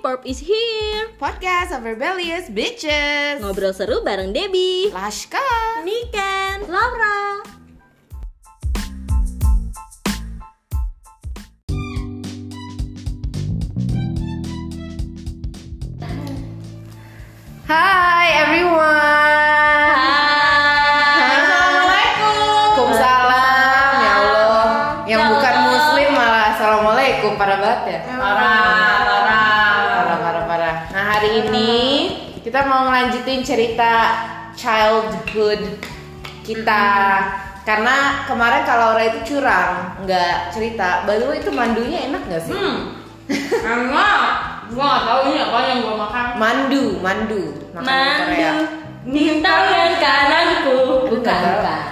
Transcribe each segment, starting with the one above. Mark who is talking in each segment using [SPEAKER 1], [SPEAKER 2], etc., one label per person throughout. [SPEAKER 1] Pop is here
[SPEAKER 2] Podcast of Rebellious Bitches
[SPEAKER 1] Ngobrol seru bareng Debbie
[SPEAKER 2] Lashka
[SPEAKER 1] Niken Laura
[SPEAKER 2] Hi everyone
[SPEAKER 1] Assalamualaikum
[SPEAKER 2] Waalaikumsalam Ya Allah Yang
[SPEAKER 1] Ya
[SPEAKER 2] bukan
[SPEAKER 1] Allah.
[SPEAKER 2] muslim malah Assalamualaikum Parah banget ya
[SPEAKER 3] Parah,
[SPEAKER 2] Parah, parah, parah Nah hari ini Kita mau ngelanjutin cerita Childhood Kita Karena kemarin kalau Laura itu curang Nggak cerita By the way itu mandunya enak nggak sih?
[SPEAKER 3] Hmm. Enak. Gua nggak tahu ini apa yang gua makan.
[SPEAKER 2] Mandu, mandu Makanan Korea
[SPEAKER 1] Mandu Di tangan kananku Bukan
[SPEAKER 2] tahu.
[SPEAKER 1] bukan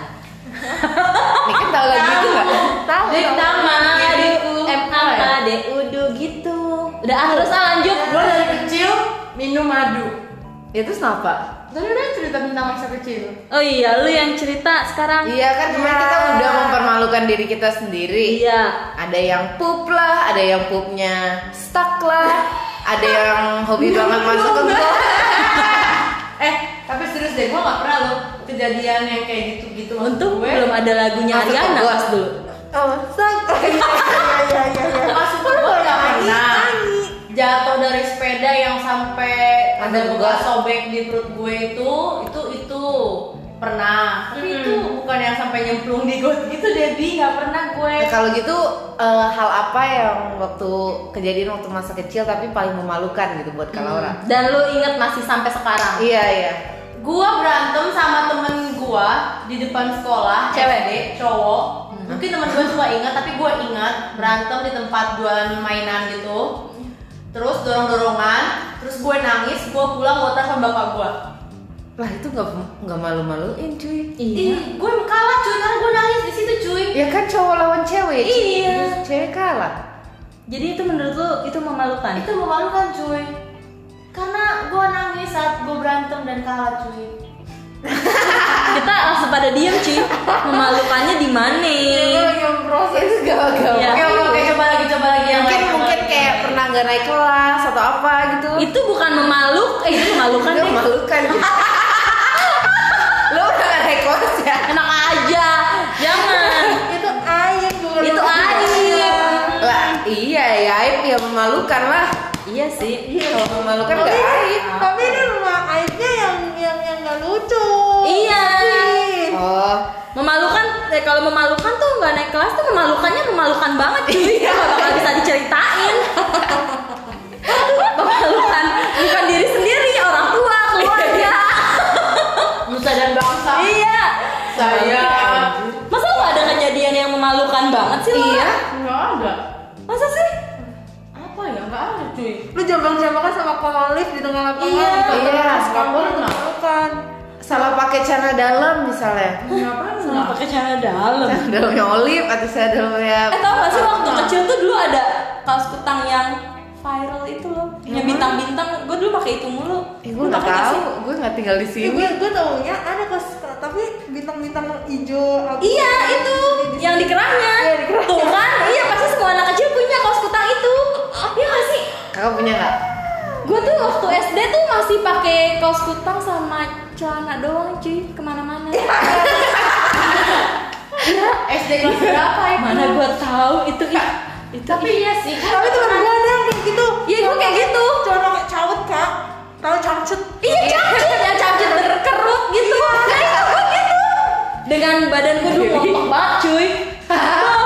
[SPEAKER 2] Ini kan tahu lagi itu nggak? Tahu. Iya,
[SPEAKER 1] Di tangan
[SPEAKER 3] Adikku.
[SPEAKER 2] ya?
[SPEAKER 1] M
[SPEAKER 3] Apa ya?
[SPEAKER 1] apa D udu gitu Udah ah, terus ah, lanjut
[SPEAKER 3] Gua dari kecil minum madu.
[SPEAKER 2] Ya terus kenapa?
[SPEAKER 3] Tadi udah cerita tentang masa kecil.
[SPEAKER 1] Oh iya lu yang cerita sekarang
[SPEAKER 2] Iya kan kemarin kita udah mempermalukan diri kita sendiri.
[SPEAKER 1] Iya
[SPEAKER 2] Ada yang pup lah, ada yang pupnya stuck lah, ada yang hobi banget
[SPEAKER 1] Iya.
[SPEAKER 2] masuk ke gua.
[SPEAKER 3] Eh, tapi serius deh, gua nggak pernah loh kejadian yang kayak gitu-gitu. Maksud
[SPEAKER 1] Untung
[SPEAKER 3] gue,
[SPEAKER 1] belum ada lagunya
[SPEAKER 2] Masuk ke
[SPEAKER 1] Ariana
[SPEAKER 2] gua.
[SPEAKER 1] pas dulu
[SPEAKER 2] Oh, stuck. Iya iya iya.
[SPEAKER 3] Maksud gue nggak pernah jatuh dari sepeda yang sampai ada
[SPEAKER 2] Ada
[SPEAKER 3] bekas
[SPEAKER 2] bekas.
[SPEAKER 3] sobek di perut gue itu itu itu pernah tapi
[SPEAKER 1] Hmm.
[SPEAKER 3] itu bukan yang sampai nyemplung di got itu Debbie nggak pernah gue
[SPEAKER 2] Kalau gitu eh, hal apa yang waktu kejadian waktu masa kecil tapi paling memalukan gitu buat Kak Laura?
[SPEAKER 1] Dan lu inget masih sampai sekarang
[SPEAKER 2] Iya iya.
[SPEAKER 3] gua berantem sama temen gua di depan sekolah
[SPEAKER 1] Cewek?
[SPEAKER 3] SD, cowok mungkin temen gua cuma ingat tapi gua ingat berantem di tempat jualan mainan gitu terus dorong dorongan terus gue nangis gue pulang gue telepon bapak gue
[SPEAKER 2] Lah itu nggak nggak malu-maluin cuy.
[SPEAKER 1] Iya
[SPEAKER 3] ih gue kalah cuy karena gue nangis di situ cuy
[SPEAKER 2] Ya kan cowok lawan cewek.
[SPEAKER 1] Iya.
[SPEAKER 2] Cewek kalah.
[SPEAKER 1] Jadi itu menurut lu itu memalukan?
[SPEAKER 3] itu memalukan cuy karena gue nangis saat gue berantem dan kalah cuy
[SPEAKER 1] Kita langsung pada diem cuy Memalukannya di mana?
[SPEAKER 4] Iya.
[SPEAKER 2] Oh, proses gagal.
[SPEAKER 1] Iya.
[SPEAKER 3] oke oke oke coba lagi coba
[SPEAKER 4] Iya,
[SPEAKER 3] lagi
[SPEAKER 2] mungkin
[SPEAKER 3] yang lain, coba
[SPEAKER 2] mungkin
[SPEAKER 3] lagi.
[SPEAKER 2] kayak pernah nggak naik kelas atau apa gitu
[SPEAKER 1] Itu bukan memaluk, eh itu
[SPEAKER 4] kan
[SPEAKER 1] memalukan
[SPEAKER 2] Nggak
[SPEAKER 1] deh.
[SPEAKER 2] memalukan gitu. lo udah nggak naik kelas ya
[SPEAKER 4] Iya.
[SPEAKER 1] Enak aja, jangan
[SPEAKER 2] itu aib bukan
[SPEAKER 1] Itu aib
[SPEAKER 2] lah iya ya aib ya memalukan lah
[SPEAKER 1] Iya sih
[SPEAKER 2] kalau memalukan nggak aib
[SPEAKER 4] tapi ini rumah aibnya yang yang yang nggak lucu
[SPEAKER 1] Iya
[SPEAKER 2] oh
[SPEAKER 1] Memalukan, eh, kalau memalukan tuh nggak naik kelas tuh memalukannya memalukan banget cuy
[SPEAKER 2] Iya.
[SPEAKER 1] Nggak bakal bisa diceritain Memalukan, bukan diri sendiri, orang tua, keluarga
[SPEAKER 3] nusa dan bangsa
[SPEAKER 1] Iya
[SPEAKER 3] saya
[SPEAKER 1] Masa lu ada kejadian yang memalukan banget sih lo?
[SPEAKER 2] iya Nah.
[SPEAKER 3] nggak ada
[SPEAKER 1] Masa sih?
[SPEAKER 3] apa ya nggak ada cuy
[SPEAKER 4] lu jambang-jambangan sama kolif di tengah lapangan
[SPEAKER 1] Iya.
[SPEAKER 2] iya
[SPEAKER 4] nggak boleh makan
[SPEAKER 2] salah pakai celana dalam misalnya
[SPEAKER 1] Sama pakai cara dalam.
[SPEAKER 2] celana dalamnya olive atau celana dalamnya
[SPEAKER 1] Eh tau gak sih
[SPEAKER 2] Nah.
[SPEAKER 1] waktu kecil tuh dulu ada kaos kutang yang viral itu loh, yang bintang-bintang. Gue dulu pakai itu mulu.
[SPEAKER 2] Iya. Eh, gue
[SPEAKER 1] Lu
[SPEAKER 2] nggak
[SPEAKER 1] pakai gak
[SPEAKER 2] tahu,
[SPEAKER 1] sih?
[SPEAKER 2] gue nggak tinggal di
[SPEAKER 4] Ih,
[SPEAKER 2] sini.
[SPEAKER 4] gue gue Iya, taunya ada kos tapi bintang-bintang hijau abu.
[SPEAKER 1] Iya itu yang di kerahnya.
[SPEAKER 4] Iya, di kerahnya.
[SPEAKER 1] Tuh kan? Iya pasti semua anak kecil punya kaos kutang itu. Iya gak sih?
[SPEAKER 2] Kakak punya nggak?
[SPEAKER 1] Gue tuh waktu SD tuh masih pakai kaos kutang sama celana doang cuy kemana-mana. Iya,
[SPEAKER 3] SD kelas berapa itu
[SPEAKER 1] Mana gue tahu itu ih, itu
[SPEAKER 3] tapi iya sih
[SPEAKER 4] tapi temen gue ada yang kayak gitu
[SPEAKER 1] Iya gue kayak gitu.
[SPEAKER 4] cuma pakai cawet kak tahu cangcut
[SPEAKER 1] Iya cabut ya cabut berkerut gitu.
[SPEAKER 4] Iya.
[SPEAKER 1] Nah, itu gua gitu. Dengan badan gue dulu montok banget cuy.
[SPEAKER 3] gue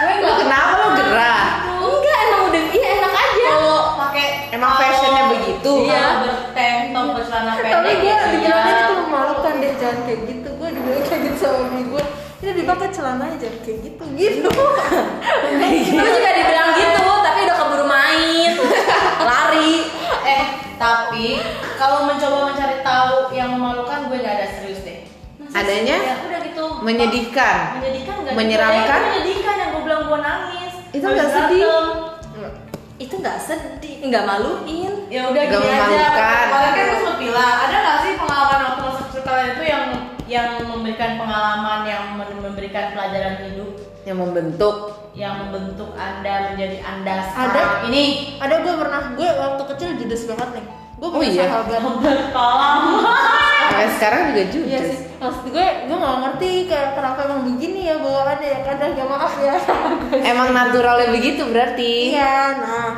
[SPEAKER 2] Lu
[SPEAKER 3] nggak
[SPEAKER 2] kenapa lu gerah?
[SPEAKER 1] Enggak emang udah iya enak aja.
[SPEAKER 3] kalau pakai
[SPEAKER 2] Emang
[SPEAKER 3] kalau-
[SPEAKER 2] fashionnya begitu?
[SPEAKER 3] iya
[SPEAKER 1] Iya.
[SPEAKER 3] bertank top bercelana pendek
[SPEAKER 4] tapi gue
[SPEAKER 3] iya.
[SPEAKER 4] dibilangnya itu memalukan deh jangan kayak gitu gue dibilang kayak gitu sama mami gue ini dipakai celananya jangan kayak gitu gitu
[SPEAKER 1] Gue juga dibilang gitu tapi udah keburu main, lari.
[SPEAKER 3] eh tapi kalau mencoba mencari tahu yang memalukan gue nggak ada serius deh
[SPEAKER 2] Adanya?
[SPEAKER 3] ya udah gitu
[SPEAKER 2] Menyedihkan.
[SPEAKER 3] menyedihkan nggak
[SPEAKER 2] Menyeramkan?
[SPEAKER 3] gitu. Eh, menyedihkan yang gue bilang gue nangis
[SPEAKER 2] Itu
[SPEAKER 3] Habis
[SPEAKER 2] nggak sedih?
[SPEAKER 3] berantem.
[SPEAKER 1] Itu nggak sedih, nggak maluin.
[SPEAKER 3] ya udah
[SPEAKER 2] Nggak
[SPEAKER 3] gini aja
[SPEAKER 2] memalukan.
[SPEAKER 3] kemarin kan lu sempila ada nggak sih pengalaman waktu masuk sekolah itu yang yang memberikan pengalaman yang men- memberikan pelajaran hidup
[SPEAKER 2] yang membentuk
[SPEAKER 3] yang membentuk anda menjadi anda
[SPEAKER 4] Ada?
[SPEAKER 3] sekarang ini
[SPEAKER 4] ada gue pernah gue waktu kecil judes banget nih gue
[SPEAKER 2] Oh
[SPEAKER 4] punya
[SPEAKER 2] iya?
[SPEAKER 4] sahabat
[SPEAKER 3] berkolam
[SPEAKER 2] sampai sekarang juga jujur
[SPEAKER 4] Iya sih, maksud gue, gue gak ngerti kayak kenapa emang begini ya bawaannya ya kadang ya maaf ya
[SPEAKER 2] emang naturalnya begitu berarti
[SPEAKER 4] Iya, nah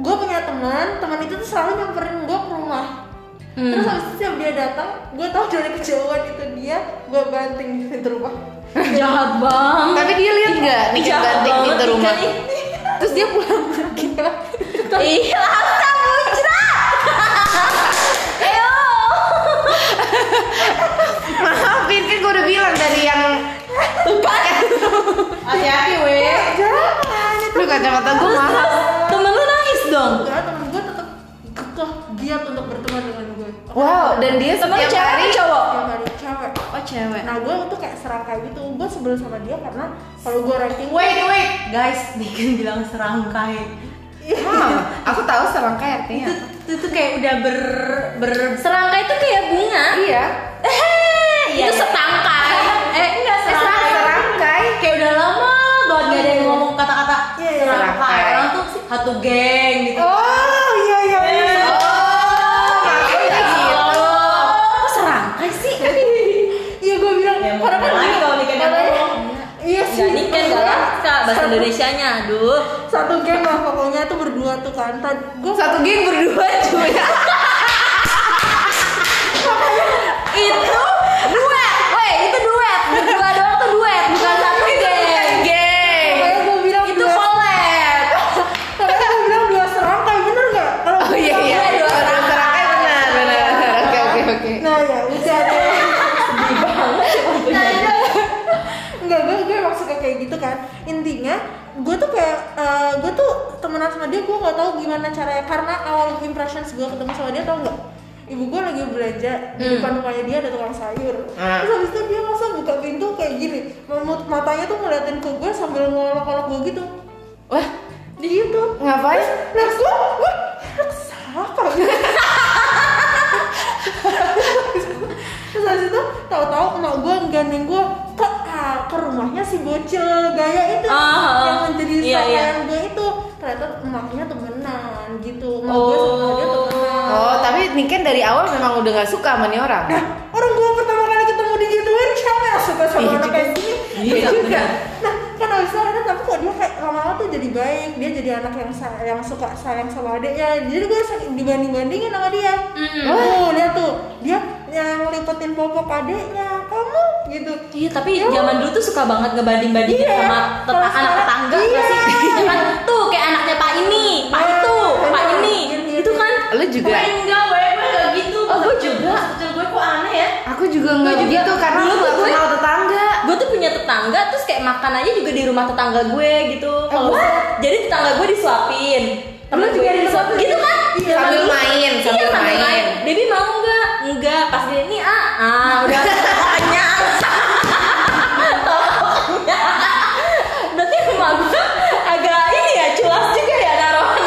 [SPEAKER 4] gue punya teman, teman itu tuh selalu nyamperin gue ke rumah Terus habis itu setiap dia datang, gue tahu dari kejauhan itu dia, gue banting di pintu rumah
[SPEAKER 1] jahat banget
[SPEAKER 2] tapi dia lihat nggak nih
[SPEAKER 1] Jahat
[SPEAKER 2] cantik
[SPEAKER 1] banget
[SPEAKER 2] pintu
[SPEAKER 1] nih
[SPEAKER 2] rumah
[SPEAKER 1] kan
[SPEAKER 4] Terus dia pulang pergi Iya.
[SPEAKER 1] Ih,
[SPEAKER 2] Iya.
[SPEAKER 1] Lata muncrat. Ayo.
[SPEAKER 2] maafin kan gue udah bilang dari yang
[SPEAKER 3] hati-hati weh
[SPEAKER 4] Jangan, itu
[SPEAKER 2] lu kacamata gue mahal
[SPEAKER 1] Temen lu nangis dong.
[SPEAKER 4] Enggak, temen gue tetap kekeh giat untuk berteman dengan gue
[SPEAKER 2] wow dan dia
[SPEAKER 1] Temen
[SPEAKER 2] setiap
[SPEAKER 1] cewek
[SPEAKER 2] hari
[SPEAKER 1] apa cowok?
[SPEAKER 4] Tiap hari cewek
[SPEAKER 1] Oh, cewek.
[SPEAKER 4] Nah gue tuh kayak serangkai gitu, gue sebel sama dia karena kalau gue ranking
[SPEAKER 3] wait wait guys Niken bilang serangkai
[SPEAKER 4] Iya.
[SPEAKER 2] Wow, aku tahu serangkai artinya
[SPEAKER 3] itu, itu tuh kayak udah ber ber
[SPEAKER 1] Serangkai itu kayak bunga.
[SPEAKER 2] iya
[SPEAKER 1] Eh,
[SPEAKER 3] Iya,
[SPEAKER 1] itu
[SPEAKER 3] iya.
[SPEAKER 1] setangkai. Eh, enggak
[SPEAKER 2] Eh,
[SPEAKER 1] serangkai.
[SPEAKER 2] serangkai
[SPEAKER 3] kayak udah lama banget gak ada yang ngomong kata-kata
[SPEAKER 4] Iya, iya.
[SPEAKER 3] serangkai orang tuh satu geng gitu
[SPEAKER 2] oh iya iya iya. oh maksudnya gitu
[SPEAKER 3] iya.
[SPEAKER 1] Oh, kok serangkai sih?
[SPEAKER 4] Iya gue bilang,
[SPEAKER 3] Ya, mau
[SPEAKER 4] karena kan
[SPEAKER 3] gimana
[SPEAKER 4] gini,
[SPEAKER 3] kalau nikah dia
[SPEAKER 4] karena-
[SPEAKER 3] ngomong?
[SPEAKER 4] Iya sih
[SPEAKER 1] Gak nikah
[SPEAKER 4] maksudnya
[SPEAKER 1] gak laka kan bahasa
[SPEAKER 4] satu-
[SPEAKER 1] Indonesianya. Aduh.
[SPEAKER 4] Satu geng lah pokoknya tuh berdua tuh kan Tadi gue
[SPEAKER 2] satu geng berdua cuy
[SPEAKER 1] ya. Itu duet. Woi, itu duet. Berdua doang tuh duet, bukan satu geng.
[SPEAKER 2] geng
[SPEAKER 4] Makanya gue bilang
[SPEAKER 1] Itu
[SPEAKER 4] dua-
[SPEAKER 1] collab.
[SPEAKER 4] Makanya gue bilang dua serangkai, bener gak? Kalau
[SPEAKER 2] Oh iya iya.
[SPEAKER 1] Dua
[SPEAKER 2] Dua
[SPEAKER 1] orang.
[SPEAKER 2] serangkai benar benar. Oke oke oke.
[SPEAKER 4] Nah ya udah deh
[SPEAKER 2] Nah, iya.
[SPEAKER 4] Enggak, gue, gue emang suka kayak gitu kan Intinya, gue tuh kayak eh, Gue tuh temenan sama dia, gue gak tahu gimana caranya Karena awal impressions gue ketemu sama dia tau gak? Ibu gue lagi belanja di
[SPEAKER 2] Hmm.
[SPEAKER 4] depan rumahnya dia ada tukang sayur
[SPEAKER 2] Ah.
[SPEAKER 4] Terus habis itu dia langsung buka pintu kayak gini Memut matanya tuh ngeliatin ke gue sambil ngolok-ngolok gue gitu
[SPEAKER 2] Wah
[SPEAKER 4] Di gitu
[SPEAKER 2] ngapain?
[SPEAKER 4] Nah gue, gue Siapa? Terus habis itu tahu-tahu emak gue nggandeng gue ke ah, ke rumahnya si bocil gaya itu
[SPEAKER 1] Ah, ah,
[SPEAKER 4] yang menjadi
[SPEAKER 1] iya,
[SPEAKER 4] sangkayan
[SPEAKER 1] iya.
[SPEAKER 4] gue itu ternyata emaknya temenan gitu emak gue sama dia temenan
[SPEAKER 2] Oh tapi Niken dari awal memang udah nggak suka sama nih orang.
[SPEAKER 4] nah orang gue pertama kali ketemu di gituin siapa yang suka sama
[SPEAKER 2] Iya
[SPEAKER 4] anak
[SPEAKER 2] juga.
[SPEAKER 4] kayak gini
[SPEAKER 2] Iya,
[SPEAKER 4] Iya juga
[SPEAKER 2] benar.
[SPEAKER 4] nah kan abis itu akhirnya tapi kok dia kayak lama-lama tuh jadi baik dia jadi anak yang sa- yang suka sayang sama adiknya jadi gue dibanding-bandingin sama dia
[SPEAKER 2] Hmm.
[SPEAKER 1] Mm.
[SPEAKER 4] oh lihat tuh dia yang lipetin popok adiknya kamu gitu
[SPEAKER 1] Iya, tapi zaman dulu tuh suka banget ngebanding-bandingin
[SPEAKER 4] Iya.
[SPEAKER 1] sama
[SPEAKER 4] Kalau
[SPEAKER 1] tetangga anak
[SPEAKER 4] sekarang-
[SPEAKER 1] tetangga nggak
[SPEAKER 4] Iya.
[SPEAKER 1] sih? Iya kan? Tuh kayak anaknya Pak ini, Pak
[SPEAKER 4] Iya,
[SPEAKER 1] itu,
[SPEAKER 4] bener.
[SPEAKER 1] Pak ini.
[SPEAKER 4] Iya, iya,
[SPEAKER 1] Itu kan
[SPEAKER 2] Lu
[SPEAKER 3] gue
[SPEAKER 2] juga.
[SPEAKER 3] enggak weh gue gak gitu
[SPEAKER 1] Oh, gue juga.
[SPEAKER 3] kecil gue kok aneh ya
[SPEAKER 2] Aku juga nggak
[SPEAKER 1] juga.
[SPEAKER 2] begitu karena
[SPEAKER 1] Dulu
[SPEAKER 2] aku
[SPEAKER 1] tuh
[SPEAKER 2] nggak
[SPEAKER 1] gue-
[SPEAKER 2] kenal tetangga.
[SPEAKER 1] gue tuh punya tetangga terus kayak makan aja juga di rumah tetangga gue gitu. Kalau jadi tetangga gue disuapin. Temen
[SPEAKER 4] Eh, juga
[SPEAKER 1] gue disuapin gitu kan?
[SPEAKER 4] Iya.
[SPEAKER 1] Temen
[SPEAKER 2] Sambil
[SPEAKER 1] gue-
[SPEAKER 2] main,
[SPEAKER 1] iya,
[SPEAKER 2] sambil main.
[SPEAKER 1] Debbie mau nggak? Enggak. Pas dia ini ah, ah udah kenyang. Berarti rumah gue agak ini ya culas juga ya naruhan.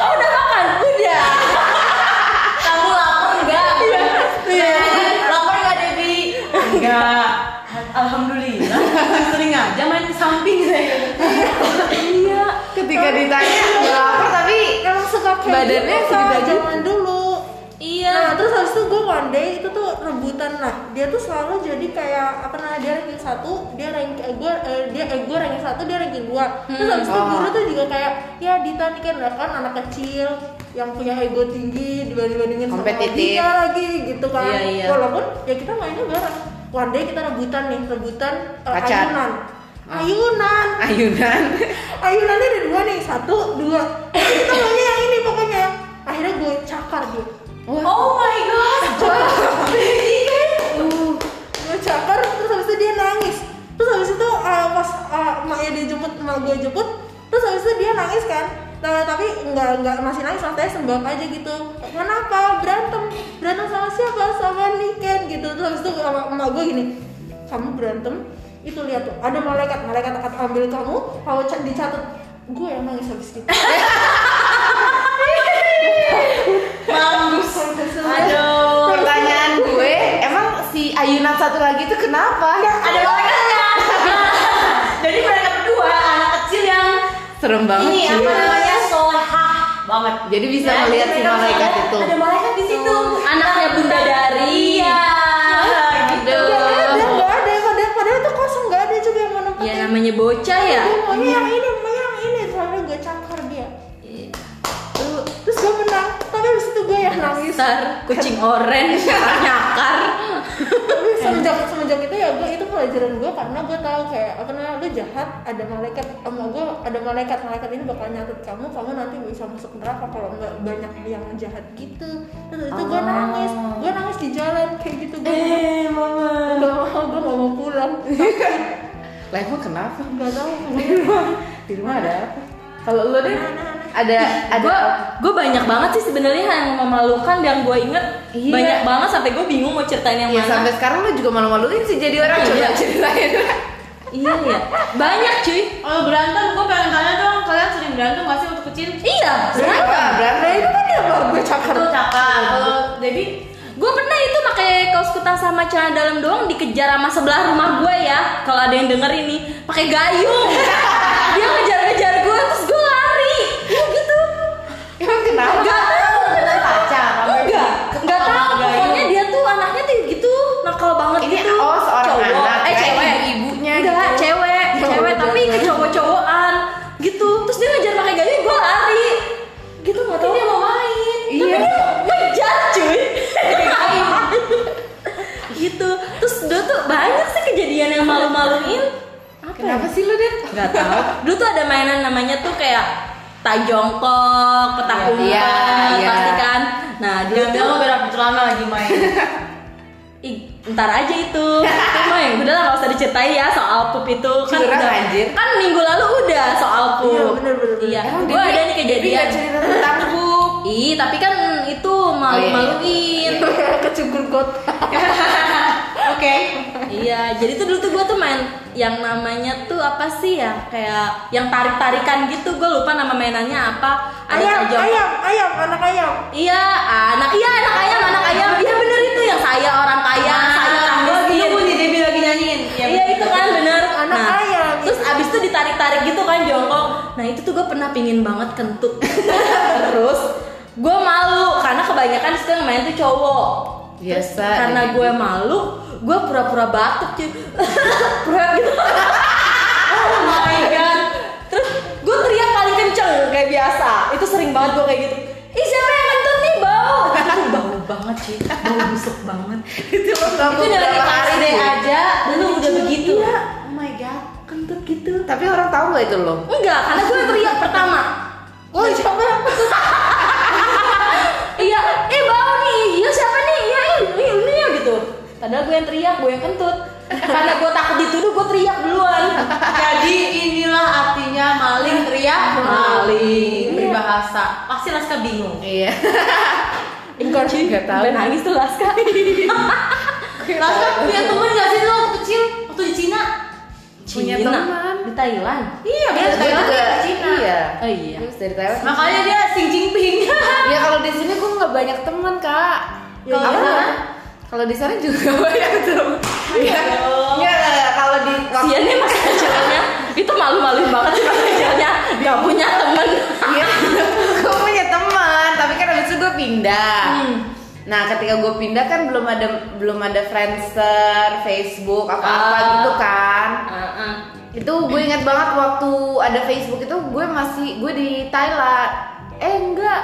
[SPEAKER 1] Kau udah makan? Udah. Iya.
[SPEAKER 3] kamu lapar enggak lapar enggak Debi enggak alhamdulillah sering aja main ke samping saya
[SPEAKER 1] Iya.
[SPEAKER 2] Ketika ditanya nggak lapar tapi
[SPEAKER 4] emang suka kayak
[SPEAKER 2] Badannya
[SPEAKER 4] gitu, Kak,
[SPEAKER 2] segede
[SPEAKER 4] zaman dulu
[SPEAKER 1] Iya.
[SPEAKER 4] Nah, terus habis itu gue one day itu tuh rebutan nah dia tuh selalu jadi kayak apa namanya dia ranking satu dia rank eh, gue eh, dia eh, gue ranking satu dia ranking dua terus habis itu
[SPEAKER 1] Hmm.
[SPEAKER 2] Oh.
[SPEAKER 4] guru tuh juga kayak ya Dita nih kan kan anak kecil yang punya ego tinggi dibanding bandingin sama
[SPEAKER 2] Kompetitif.
[SPEAKER 4] dia lagi gitu kan
[SPEAKER 1] Iya, iya.
[SPEAKER 4] walaupun ya kita mainnya bareng one day kita rebutan nih rebutan eh,
[SPEAKER 2] Pacar.
[SPEAKER 4] ayunan
[SPEAKER 1] Ah.
[SPEAKER 4] ayunan
[SPEAKER 2] ayunan.
[SPEAKER 4] ayunannya ada dua nih satu dua kita maunya yang ini pokoknya akhirnya gue cakar dia
[SPEAKER 2] Wah.
[SPEAKER 3] oh my god
[SPEAKER 4] Uh, gue cakar terus habis itu dia nangis terus habis itu uh, pas uh, emaknya dia jemput emak gue jemput terus habis itu dia nangis kan nah, tapi nggak nggak masih nangis maksudnya sembab aja gitu kenapa berantem berantem sama siapa sama Niken gitu terus habis itu sama emak gue gini kamu berantem itu lihat tuh ada malaikat malaikat akan ambil kamu kamu ca- dicatat gue yang nangis habis gitu. itu
[SPEAKER 3] mampus
[SPEAKER 4] Sampai selesai.
[SPEAKER 3] aduh
[SPEAKER 2] Pertanyaan gue, satu lagi itu kenapa?
[SPEAKER 3] Ada orangnya. Jadi mereka berdua anak kecil yang
[SPEAKER 2] Serem banget
[SPEAKER 3] ini
[SPEAKER 2] cuy.
[SPEAKER 3] Iya, apa namanya solehah banget.
[SPEAKER 2] Jadi bisa
[SPEAKER 3] Nah,
[SPEAKER 2] melihat si
[SPEAKER 3] mereka
[SPEAKER 2] malaikat
[SPEAKER 3] misalnya,
[SPEAKER 2] itu.
[SPEAKER 3] Ada malaikat di situ.
[SPEAKER 1] Anaknya Bunda Dari.
[SPEAKER 3] Iya. Gitu.
[SPEAKER 4] Nggak ada, nggak ada. Padahal, padahal itu kosong, nggak ada juga yang menempatin.
[SPEAKER 1] Ya namanya bocah
[SPEAKER 3] Iya.
[SPEAKER 1] ya.
[SPEAKER 4] Gue maunya yang ini, maunya yang ini. Soalnya gue cakar dia.
[SPEAKER 3] Iya.
[SPEAKER 4] Tuh, Terus gue menang, tapi abis itu gue yang nangis.
[SPEAKER 1] Besar, kucing orange, nyakar.
[SPEAKER 4] tapi semenjak semenjak itu ya gue itu pelajaran gue karena gue tahu kayak apa namanya lu jahat ada malaikat sama gue ada malaikat malaikat ini bakal nyatet kamu kamu nanti bisa masuk neraka kalau nggak banyak yang jahat gitu terus itu gue nangis gue nangis di jalan kayak gitu gue
[SPEAKER 3] Oh. Eh, mama.
[SPEAKER 4] nggak mau gue nggak mau pulang
[SPEAKER 2] Level kenapa?
[SPEAKER 4] nggak tahu
[SPEAKER 2] Di rumah ada apa? Kalau lo deh ada ada Ya,
[SPEAKER 1] Gue gue Eh, banyak banget sih sebenarnya yang memalukan yang gue inget
[SPEAKER 2] Iya.
[SPEAKER 1] banyak banget sampai gue bingung mau ceritain yang
[SPEAKER 2] Ya
[SPEAKER 1] mana.
[SPEAKER 2] sampai sekarang lo juga malu-maluin sih jadi orang coba
[SPEAKER 1] Iya.
[SPEAKER 2] ceritain.
[SPEAKER 1] Iya ya, banyak cuy.
[SPEAKER 3] Kalau berantem, gue pengen tanya dong, kalian sering berantem gak sih waktu kecil?
[SPEAKER 1] Iya,
[SPEAKER 2] Wah,
[SPEAKER 1] berantem.
[SPEAKER 2] Berarti
[SPEAKER 4] nah itu kan dia bawa gue cakar
[SPEAKER 3] Itu cakar. Kalau Debbie,
[SPEAKER 1] Gue pernah itu pakai kaos kutang sama celana dalam doang dikejar sama sebelah rumah gue ya. Kalau ada yang denger ini, pakai gayung. Dia ngejar-ngejar gue terus gue lari. Ya gitu.
[SPEAKER 2] Emang kenapa?
[SPEAKER 1] Gak tahu.
[SPEAKER 3] kita pacar.
[SPEAKER 1] Enggak, enggak tahu.
[SPEAKER 3] Gayung.
[SPEAKER 1] Pokoknya dia tuh anaknya tuh gitu nakal banget
[SPEAKER 2] Ini
[SPEAKER 1] gitu.
[SPEAKER 2] oh seorang
[SPEAKER 1] Cowok.
[SPEAKER 2] anak,
[SPEAKER 1] eh
[SPEAKER 2] kayak
[SPEAKER 1] cewek.
[SPEAKER 2] ibunya
[SPEAKER 1] Enggak,
[SPEAKER 2] gitu.
[SPEAKER 1] cewek,
[SPEAKER 2] Ya
[SPEAKER 1] cewek
[SPEAKER 2] udah,
[SPEAKER 1] tapi ke cowok-cowokan gitu. Terus dia ngejar pakai gayung, gue lari. Gitu nggak tahu. Dia mau main.
[SPEAKER 2] Iya.
[SPEAKER 1] Tapi dia ngejar cuy. gitu. Terus dia tuh banyak sih kejadian yang malu-maluin. Apa ya?
[SPEAKER 2] Kenapa sih lo deh?
[SPEAKER 1] Gak tau Dulu tuh ada mainan namanya tuh kayak Tai jongkok, petak
[SPEAKER 2] Iya,
[SPEAKER 1] umpet,
[SPEAKER 2] iya.
[SPEAKER 1] pasti kan Nah dulu
[SPEAKER 3] Dia
[SPEAKER 1] tuh
[SPEAKER 3] lo berak di celana lagi main.
[SPEAKER 1] Ih, ntar aja itu "Oh, Cuma yang udah lah gak usah diceritain ya soal pup itu kan
[SPEAKER 2] Curang,
[SPEAKER 1] udah,
[SPEAKER 2] anjir.
[SPEAKER 1] Kan minggu lalu udah soal pup
[SPEAKER 4] Iya, bener, bener, bener.
[SPEAKER 1] Iya,
[SPEAKER 2] Emang
[SPEAKER 1] gue
[SPEAKER 2] Debbie-
[SPEAKER 1] ada nih
[SPEAKER 2] Debbie
[SPEAKER 1] kejadian
[SPEAKER 2] nggak cerita tentang buk.
[SPEAKER 1] Ih, tapi kan itu malu-maluin
[SPEAKER 4] kecukur got
[SPEAKER 3] Oke.
[SPEAKER 1] Iya, jadi tuh dulu tuh gue tuh main yang namanya tuh apa sih ya Kayak yang tarik-tarikan gitu, gue lupa nama mainannya apa Ada
[SPEAKER 4] ayam
[SPEAKER 1] tai jongkok.
[SPEAKER 4] ayam ayam anak ayam
[SPEAKER 1] Iya, anak iya anak ayam, anak ayam. Iya bener itu yang saya orang kaya, saya
[SPEAKER 4] Ah, iya,
[SPEAKER 1] gitu.
[SPEAKER 3] Gue lagi
[SPEAKER 1] tanggulin.
[SPEAKER 3] nunggu nih Debbie lagi nyanyiin. Ya. Iya,
[SPEAKER 1] Iya itu kan bener
[SPEAKER 4] Anak ayam.
[SPEAKER 1] Terus abis itu ditarik-tarik gitu kan jongkok Nah itu tuh gue pernah pingin banget kentut Terus gue malu Karena kebanyakan disitu yang main tuh cowok
[SPEAKER 2] Biasa.
[SPEAKER 1] Karena gue malu Gue pura-pura batuk cuy Pura gitu Oh my god Terus gue teriak paling kenceng kayak biasa Itu sering banget gue kayak gitu Ih siapa yang kentut nih bau Itu bau banget cuy Bau busuk banget
[SPEAKER 2] itu lo
[SPEAKER 1] Itu
[SPEAKER 2] tahu
[SPEAKER 1] dari
[SPEAKER 2] berapa
[SPEAKER 1] kelas
[SPEAKER 2] hari
[SPEAKER 1] D
[SPEAKER 2] deh.
[SPEAKER 1] aja Dulu udah begitu
[SPEAKER 3] Oh my god.
[SPEAKER 1] kentut gitu
[SPEAKER 2] Tapi orang tahu nggak itu lo?
[SPEAKER 1] enggak karena gue teriak pertama
[SPEAKER 4] oh siapa
[SPEAKER 1] iya eh bau nih iya siapa nih iya ini ini, ini ya gitu padahal gue yang teriak gue yang kentut karena gue takut dituduh gue teriak duluan
[SPEAKER 3] Jadi inilah artinya maling teriak maling. Berbahasa. Pasti Laska bingung.
[SPEAKER 2] Iya.
[SPEAKER 1] enggak sih
[SPEAKER 2] nggak tahu.
[SPEAKER 1] nangis tuh last kali
[SPEAKER 3] Laska punya temen gak sih lo waktu kecil? Waktu di Cina?
[SPEAKER 2] Punya
[SPEAKER 1] Cina,
[SPEAKER 2] teman.
[SPEAKER 1] di Thailand
[SPEAKER 3] Iya,
[SPEAKER 2] Iya,
[SPEAKER 3] bener.
[SPEAKER 2] gue
[SPEAKER 3] Thailand
[SPEAKER 2] juga.
[SPEAKER 3] ke Cina. Ah.
[SPEAKER 2] Iya.
[SPEAKER 1] oh iya
[SPEAKER 2] Gue dari Thailand.
[SPEAKER 3] Makanya dia Xi Jinping. Kan
[SPEAKER 2] Ya kalau di sini gue nggak banyak teman kak.
[SPEAKER 3] Kalau di
[SPEAKER 2] Apa?
[SPEAKER 3] sana?
[SPEAKER 2] Kalau di sana juga nggak banyak teman. Iya.
[SPEAKER 3] dong.
[SPEAKER 2] Iya. Kalau di
[SPEAKER 1] Iya nih masa kecilnya itu malu-maluin banget sih masa kecilnya Gak punya temen
[SPEAKER 2] Iya, gue punya teman, tapi kan abis itu gue pindah. Nah, ketika gue pindah kan belum ada belum ada Friendster, Facebook, apa-apa
[SPEAKER 1] Ah.
[SPEAKER 2] gitu kan.
[SPEAKER 1] Heeh.
[SPEAKER 2] Itu gue inget banget waktu ada Facebook itu gue masih gue di Thailand. Eh enggak,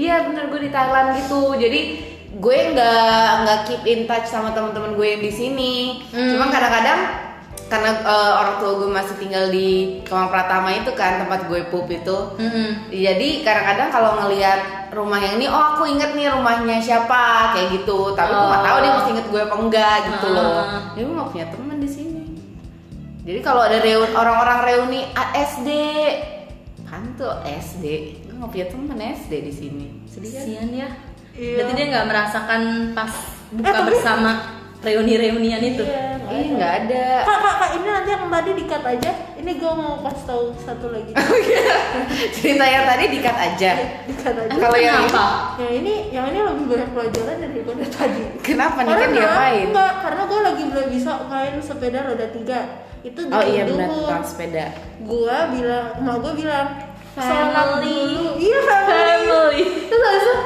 [SPEAKER 2] iya bener gue di Thailand gitu. Jadi gue nggak nggak keep in touch sama teman-teman gue yang di sini. Cuma kadang-kadang karena eh, orang tua gue masih tinggal di Kemang Pratama itu kan tempat gue pup itu. Iya, Jadi kadang-kadang kalau ngelihat rumah yang ini, oh aku inget nih rumahnya siapa kayak gitu. Tapi gue nggak tahu dia mesti inget gue apa enggak gitu loh.
[SPEAKER 1] Ah.
[SPEAKER 2] Jadi gue mau punya teman di sini. Jadi kalau ada reun orang-orang reuni ASD, pantu SD, gue nggak punya teman SD di sini. Sedih kan?
[SPEAKER 1] Kasian ya
[SPEAKER 4] Iya.
[SPEAKER 1] Berarti dia nggak merasakan pas buka
[SPEAKER 2] Eh,
[SPEAKER 4] tapi-
[SPEAKER 1] bersama reuni-reunian itu
[SPEAKER 3] gitu?
[SPEAKER 4] Iya, nggak
[SPEAKER 2] Iya nggak ada.
[SPEAKER 4] Kak, kak, kak, ini nanti yang tadi dikat aja. Ini gue mau kasih tahu satu lagi.
[SPEAKER 2] Cerita yang tadi dikat aja.
[SPEAKER 4] dikat aja.
[SPEAKER 2] Kalau yang
[SPEAKER 1] Kenapa?
[SPEAKER 4] Yang ini, yang ini lebih banyak pelajaran daripada tadi.
[SPEAKER 2] kenapa nih kan diapain?
[SPEAKER 4] enggak, karena gue lagi belum bisa main sepeda roda tiga. Itu di
[SPEAKER 2] Oh iya benar
[SPEAKER 4] Bedugul.
[SPEAKER 2] tentang sepeda.
[SPEAKER 4] Gue bilang, emak gue bilang, sholat
[SPEAKER 1] Family.
[SPEAKER 4] dulu. Iya family.
[SPEAKER 1] Family.
[SPEAKER 4] Terus habis itu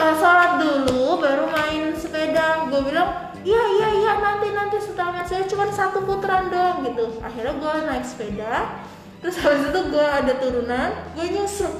[SPEAKER 4] eh, sholat dulu, baru main sepeda. Gue bilang, iya iya iya nanti nanti setelah main sepeda cuma satu putaran dong gitu. Akhirnya gue naik sepeda. Terus habis itu gue ada turunan, gue nyusuk.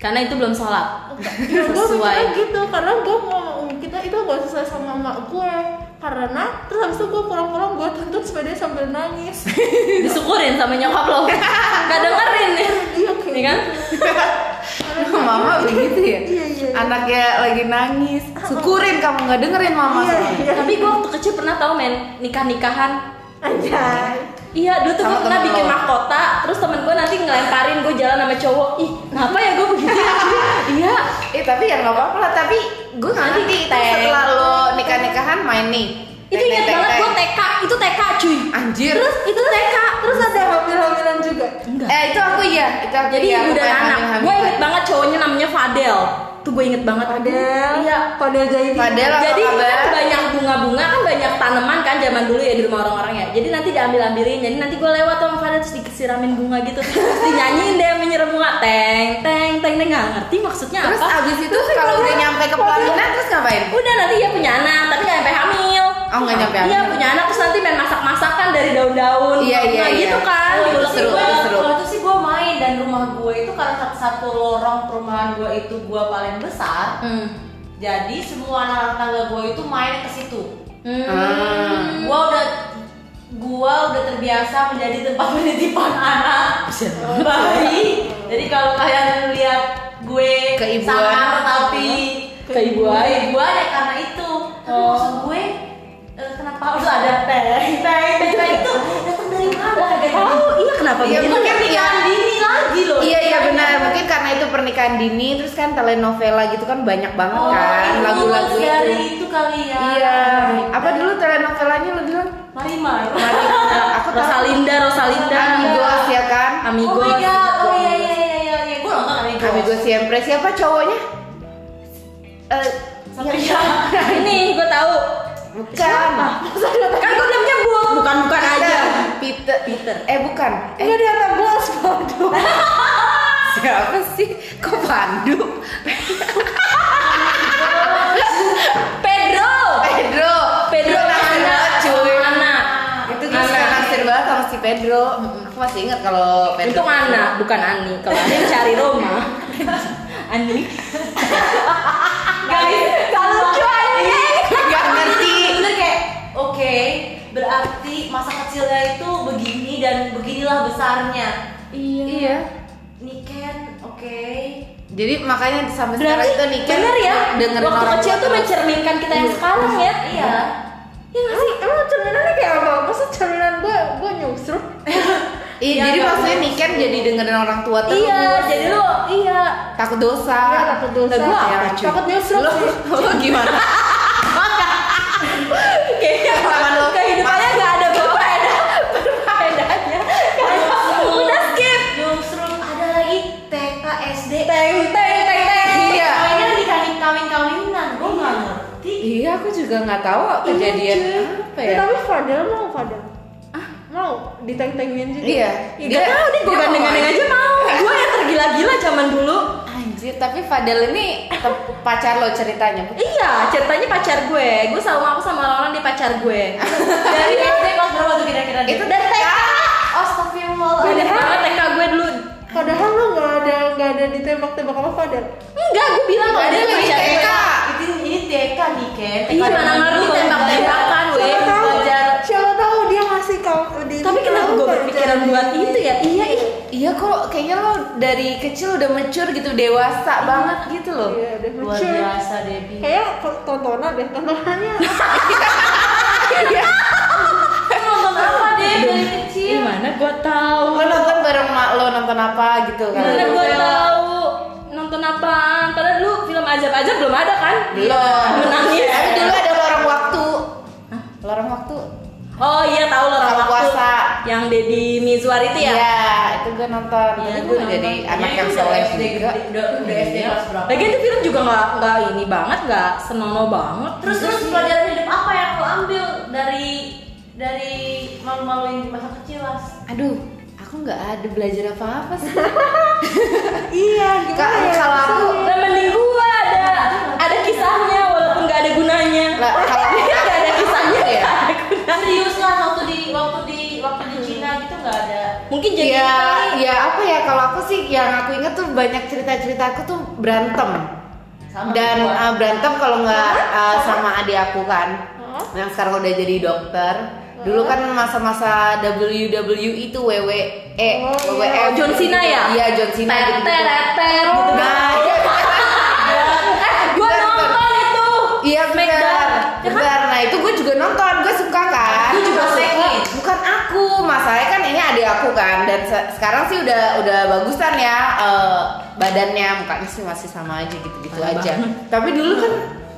[SPEAKER 1] Karena itu belum sholat.
[SPEAKER 4] Ya gue
[SPEAKER 1] Sesuai.
[SPEAKER 4] mikirnya gitu karena gue mau kita itu gak sesuai sama emak gue karena terus habis itu gue pulang-pulang gue tuntut sepeda sambil nangis
[SPEAKER 1] Iya. Disyukurin sama nyokap lo. Gak dengerin nih.
[SPEAKER 4] iya
[SPEAKER 1] Nih
[SPEAKER 4] kayak
[SPEAKER 1] kan?
[SPEAKER 2] gitu. mama begitu ya.
[SPEAKER 4] Iya, iya, iya.
[SPEAKER 2] Anaknya lagi nangis. Syukurin kamu nggak dengerin mama.
[SPEAKER 4] iya
[SPEAKER 2] soalnya.
[SPEAKER 4] iya
[SPEAKER 1] Tapi gue waktu kecil pernah tau men nikah-nikahan.
[SPEAKER 4] anjay
[SPEAKER 1] Iya, dulu tuh gue
[SPEAKER 2] Sama
[SPEAKER 1] pernah
[SPEAKER 2] temen
[SPEAKER 1] bikin
[SPEAKER 2] lo.
[SPEAKER 1] mahkota, terus temen gue nanti ngelemparin gue jalan sama cowok. Ih, kenapa ya gue begitu? iya,
[SPEAKER 2] Eh tapi ya nggak apa-apa lah. Tapi gue
[SPEAKER 1] Nanti
[SPEAKER 2] nanti
[SPEAKER 1] teng.
[SPEAKER 2] setelah lo nikah nikahan main nih.
[SPEAKER 1] itu
[SPEAKER 2] Teng,
[SPEAKER 1] inget
[SPEAKER 2] teng,
[SPEAKER 1] banget
[SPEAKER 2] teng,
[SPEAKER 1] gue
[SPEAKER 2] teng.
[SPEAKER 1] TK, itu TK cuy.
[SPEAKER 2] Anjir.
[SPEAKER 1] Terus itu TK,
[SPEAKER 4] terus ada hamil-hamilan juga
[SPEAKER 1] enggak.
[SPEAKER 2] eh itu aku iya. Itu aku
[SPEAKER 1] Jadi
[SPEAKER 2] iya,
[SPEAKER 1] ibu
[SPEAKER 2] aku
[SPEAKER 1] dan
[SPEAKER 2] main
[SPEAKER 1] anak.
[SPEAKER 2] hamil-hamil.
[SPEAKER 1] Gue inget banget cowoknya namanya Fadel. Tuh gue inget banget.
[SPEAKER 4] Padel
[SPEAKER 1] Iya.
[SPEAKER 4] padel jadi
[SPEAKER 2] Padahal apa
[SPEAKER 1] Jadi
[SPEAKER 2] kabar?
[SPEAKER 1] kan banyak bunga-bunga kan banyak tanaman kan zaman dulu ya di rumah orang-orang ya. Jadi nanti diambil ambilin. Jadi nanti gue lewat sama Fadel terus disiramin bunga gitu. Terus dinyanyiin deh menyiram bunga. Teng teng teng teng nggak ngerti maksudnya
[SPEAKER 2] Terus
[SPEAKER 1] apa.
[SPEAKER 2] abis itu kalau udah nyampe ke pelaminan terus ngapain?
[SPEAKER 1] Udah nanti ya punya anak tapi nggak sampai hamil.
[SPEAKER 2] Oh, nggak nyampe
[SPEAKER 1] Iya
[SPEAKER 2] hamil.
[SPEAKER 1] punya anak terus nanti main masak-masakan dari daun-daun.
[SPEAKER 2] Iya, iya,
[SPEAKER 1] Nah,
[SPEAKER 2] iya.
[SPEAKER 1] Gitu kan.
[SPEAKER 3] Kalau itu sih
[SPEAKER 2] seru,
[SPEAKER 3] gua-
[SPEAKER 2] itu seru.
[SPEAKER 3] Kalau itu sih gue main dan rumah gue itu karena satu, satu lorong perumahan gue itu gue paling besar.
[SPEAKER 1] Hmm.
[SPEAKER 3] Jadi semua anak tangga gue itu main ke situ.
[SPEAKER 1] Hmm.
[SPEAKER 2] Ah.
[SPEAKER 3] Gue udah gue udah terbiasa menjadi tempat penitipan anak bayi. Jadi kalau kalian lihat gue
[SPEAKER 2] Keibuan.
[SPEAKER 3] sangar tapi
[SPEAKER 1] Keibuan.
[SPEAKER 3] keibuan ya karena itu. Tapi
[SPEAKER 1] Oh.
[SPEAKER 3] maksud gue eh, kenapa harus ada teh teh teh itu datang dari mana gitu?
[SPEAKER 1] Oh iya kenapa
[SPEAKER 2] Iya,
[SPEAKER 1] begitu?
[SPEAKER 2] mungkin iya.
[SPEAKER 3] dini lagi loh.
[SPEAKER 2] Iya iya benar. Mungkin karena itu pernikahan dini terus kan telenovela gitu kan banyak banget kan
[SPEAKER 3] Oh, itu
[SPEAKER 2] lagu-lagu
[SPEAKER 3] dari
[SPEAKER 2] itu.
[SPEAKER 3] itu kali ya.
[SPEAKER 2] Iya. Apa dulu telenovelanya lo bilang?
[SPEAKER 3] Marimar.
[SPEAKER 2] Aku tahu.
[SPEAKER 1] Rosalinda, Rosalinda.
[SPEAKER 2] Amigos ya kan?
[SPEAKER 1] Amigos.
[SPEAKER 3] Oh my god. Oh iya iya iya iya iya. Gue nonton Amigos.
[SPEAKER 2] Amigos siempre. Siapa cowoknya? Eh,
[SPEAKER 3] Sampai
[SPEAKER 2] yang-
[SPEAKER 1] Ini gue tahu.
[SPEAKER 2] bukan.
[SPEAKER 1] Kan gue udah nyebut. Bukan bukan aja.
[SPEAKER 2] Peter.
[SPEAKER 1] Peter.
[SPEAKER 2] Eh bukan. Eh
[SPEAKER 4] Enggak di atas gue sepatu
[SPEAKER 2] siapa sih? Kok Pandu?
[SPEAKER 1] Pedro.
[SPEAKER 2] Pedro.
[SPEAKER 1] Pedro
[SPEAKER 2] naksir banget, cuy.
[SPEAKER 1] Anak.
[SPEAKER 2] Itu kita naksir banget sama si Pedro. Aku masih ingat kalau Pedro.
[SPEAKER 1] Untung anak, bukan Ani. Kalau Ani yang cari Roma. Ani.
[SPEAKER 3] Guys, gak lucu aja.
[SPEAKER 1] Iya.
[SPEAKER 2] Gak ngerti.
[SPEAKER 3] Bener kayak oke. berarti masa kecilnya itu begini dan beginilah besarnya.
[SPEAKER 2] Iya.
[SPEAKER 3] Niken, oke.
[SPEAKER 2] Jadi makanya sampai sekarang
[SPEAKER 1] Berarti
[SPEAKER 2] itu nikah.
[SPEAKER 1] bener ya.
[SPEAKER 2] Dengerin
[SPEAKER 1] Waktu
[SPEAKER 2] orang
[SPEAKER 1] kecil
[SPEAKER 2] tua
[SPEAKER 1] tuh
[SPEAKER 2] terus.
[SPEAKER 1] mencerminkan kita yang sekarang ya.
[SPEAKER 3] Iya.
[SPEAKER 1] Iya nggak sih?
[SPEAKER 4] emang cerminannya kayak apa? masa cerminan gue, gue nyusruk
[SPEAKER 2] Iya, jadi maksudnya Niken jadi dengerin orang tua terus.
[SPEAKER 1] Iya, jadi lu iya.
[SPEAKER 2] takut dosa.
[SPEAKER 4] Iya, takut dosa.
[SPEAKER 2] Lah, gua apa, cuy?
[SPEAKER 4] Takut nyusruk
[SPEAKER 2] Lo,
[SPEAKER 4] sih.
[SPEAKER 2] lo gimana?
[SPEAKER 1] Kayaknya
[SPEAKER 2] Sama lu.
[SPEAKER 1] kehidupannya nggak ada berbeda. Perbedaannya. Udah skip.
[SPEAKER 3] Nyusrun ada lagi TK SD.
[SPEAKER 1] Teng teng teng teng.
[SPEAKER 2] Iya.
[SPEAKER 3] Mainnya nikah kawin kawinan. Gue nggak ngerti.
[SPEAKER 2] Iya, aku juga nggak tahu kejadian
[SPEAKER 4] Iya,
[SPEAKER 2] apa
[SPEAKER 4] cuy.
[SPEAKER 2] ya.
[SPEAKER 4] tapi Fadel mau Fadel ah mau diteng-tengin juga
[SPEAKER 2] Iya.
[SPEAKER 4] Ih,
[SPEAKER 1] Gak tau deh, gue
[SPEAKER 2] dia
[SPEAKER 1] gandeng-gandeng aja
[SPEAKER 2] mau
[SPEAKER 1] mau Gue yang tergila-gila zaman dulu
[SPEAKER 2] Anjir, tapi Fadel ini te- pacar lo ceritanya.
[SPEAKER 1] Iya, ceritanya pacar gue Gue selalu ngaku sama orang-orang dia pacar gue
[SPEAKER 3] Dari SD kelas berapa tuh kira-kira?
[SPEAKER 2] Itu dari TK.
[SPEAKER 3] Astagfirullah.
[SPEAKER 1] Banyak banget TK gue dulu
[SPEAKER 4] Padahal lo gak ada gak ada ditembak-tembak sama Fadel.
[SPEAKER 1] Enggak, gue bilang kalau
[SPEAKER 2] Ada
[SPEAKER 1] dia
[SPEAKER 2] lagi
[SPEAKER 1] pacar gue
[SPEAKER 2] TK.
[SPEAKER 3] Itu ini TK nih Ken.
[SPEAKER 1] Ih,
[SPEAKER 3] TK
[SPEAKER 1] mana ngerti
[SPEAKER 3] dulu,
[SPEAKER 1] tembak-tembakan
[SPEAKER 3] belajar.
[SPEAKER 1] weh
[SPEAKER 4] Siapa tahu?
[SPEAKER 3] Belajar.
[SPEAKER 4] Siapa tahu dia ngasih kamu di.
[SPEAKER 1] Tapi kenapa gue berpikiran buat itu ya? Iya, ih
[SPEAKER 2] Iya kok, kayaknya lo dari kecil udah mature gitu, dewasa banget gitu loh.
[SPEAKER 4] Iya, udah
[SPEAKER 3] Luar
[SPEAKER 4] mature.
[SPEAKER 3] biasa Debi.
[SPEAKER 4] Kayak ko- tontonan deh tontonannya.
[SPEAKER 3] Lu nonton apa Debi dari kecil?
[SPEAKER 1] Gimana gue tahu?
[SPEAKER 2] Lo Kan nonton bareng mak lo nonton apa gitu kan?
[SPEAKER 1] Gimana gue tahu? Nonton apaan? Padahal dulu film ajab-ajab belum ada kan?
[SPEAKER 2] Belum. Iya,
[SPEAKER 1] Menangis
[SPEAKER 2] Tapi dulu ada lorong waktu. Lorong waktu.
[SPEAKER 1] Oh iya tahu loh
[SPEAKER 2] Buka puasa.
[SPEAKER 1] Yang Deddy Mizwar itu ya.
[SPEAKER 2] Iya, itu gue nonton.
[SPEAKER 1] Iya,
[SPEAKER 2] Tapi
[SPEAKER 1] gue
[SPEAKER 2] gue
[SPEAKER 1] nonton.
[SPEAKER 2] jadi
[SPEAKER 1] Iya,
[SPEAKER 2] anak
[SPEAKER 3] Jadi
[SPEAKER 2] yang
[SPEAKER 3] itu udah
[SPEAKER 2] soleh
[SPEAKER 3] SD
[SPEAKER 2] juga.
[SPEAKER 3] gede- udah udah SD kelas berapa
[SPEAKER 1] Lagian itu film juga nggak nggak ini banget, nggak senono banget.
[SPEAKER 3] terus terus
[SPEAKER 1] Iya.
[SPEAKER 2] Iya.
[SPEAKER 3] pelajaran hidup apa yang lo ambil dari dari malu-maluin masa kecil las
[SPEAKER 2] Aduh, aku nggak ada belajar apa-apa sih.
[SPEAKER 4] iya gimana
[SPEAKER 2] Kak,
[SPEAKER 4] ya
[SPEAKER 2] kalau aku
[SPEAKER 1] Lah mending gua ada ada kisahnya walaupun nggak ada gunanya.
[SPEAKER 2] lah, kalau
[SPEAKER 1] Iya nggak ada kisahnya
[SPEAKER 2] Iya.
[SPEAKER 1] ya.
[SPEAKER 3] serius lah waktu di waktu di waktu di Cina gitu nggak ada
[SPEAKER 1] Mungkin jadi
[SPEAKER 2] ya,
[SPEAKER 1] ini kali.
[SPEAKER 2] ya apa ya kalau aku sih yang aku ingat tuh banyak cerita-cerita aku tuh berantem
[SPEAKER 3] sama
[SPEAKER 2] dan
[SPEAKER 3] gua.
[SPEAKER 2] uh, berantem kalau nggak uh, sama adik aku kan
[SPEAKER 4] Hah?
[SPEAKER 2] yang sekarang udah jadi dokter dulu kan masa-masa WWE itu E. WWE
[SPEAKER 4] Oh,
[SPEAKER 2] WWF
[SPEAKER 1] iya. John Cena ya?
[SPEAKER 2] iya John Cena gitu
[SPEAKER 1] Teteteter.
[SPEAKER 2] nah iya
[SPEAKER 1] Eh, gua
[SPEAKER 2] Bentar, bentar.
[SPEAKER 1] nonton itu.
[SPEAKER 2] iya benar
[SPEAKER 1] Smackdown. Ya kan?
[SPEAKER 2] benar nah itu gue juga nonton gue suka kan
[SPEAKER 1] Gua juga
[SPEAKER 2] Bukan-
[SPEAKER 1] suka.
[SPEAKER 2] bukan aku masalahnya kan ini adik aku kan dan se- sekarang sih udah udah bagusan ya eh, badannya mukanya sih masih sama aja gitu-gitu
[SPEAKER 1] Parah
[SPEAKER 2] aja tapi dulu kan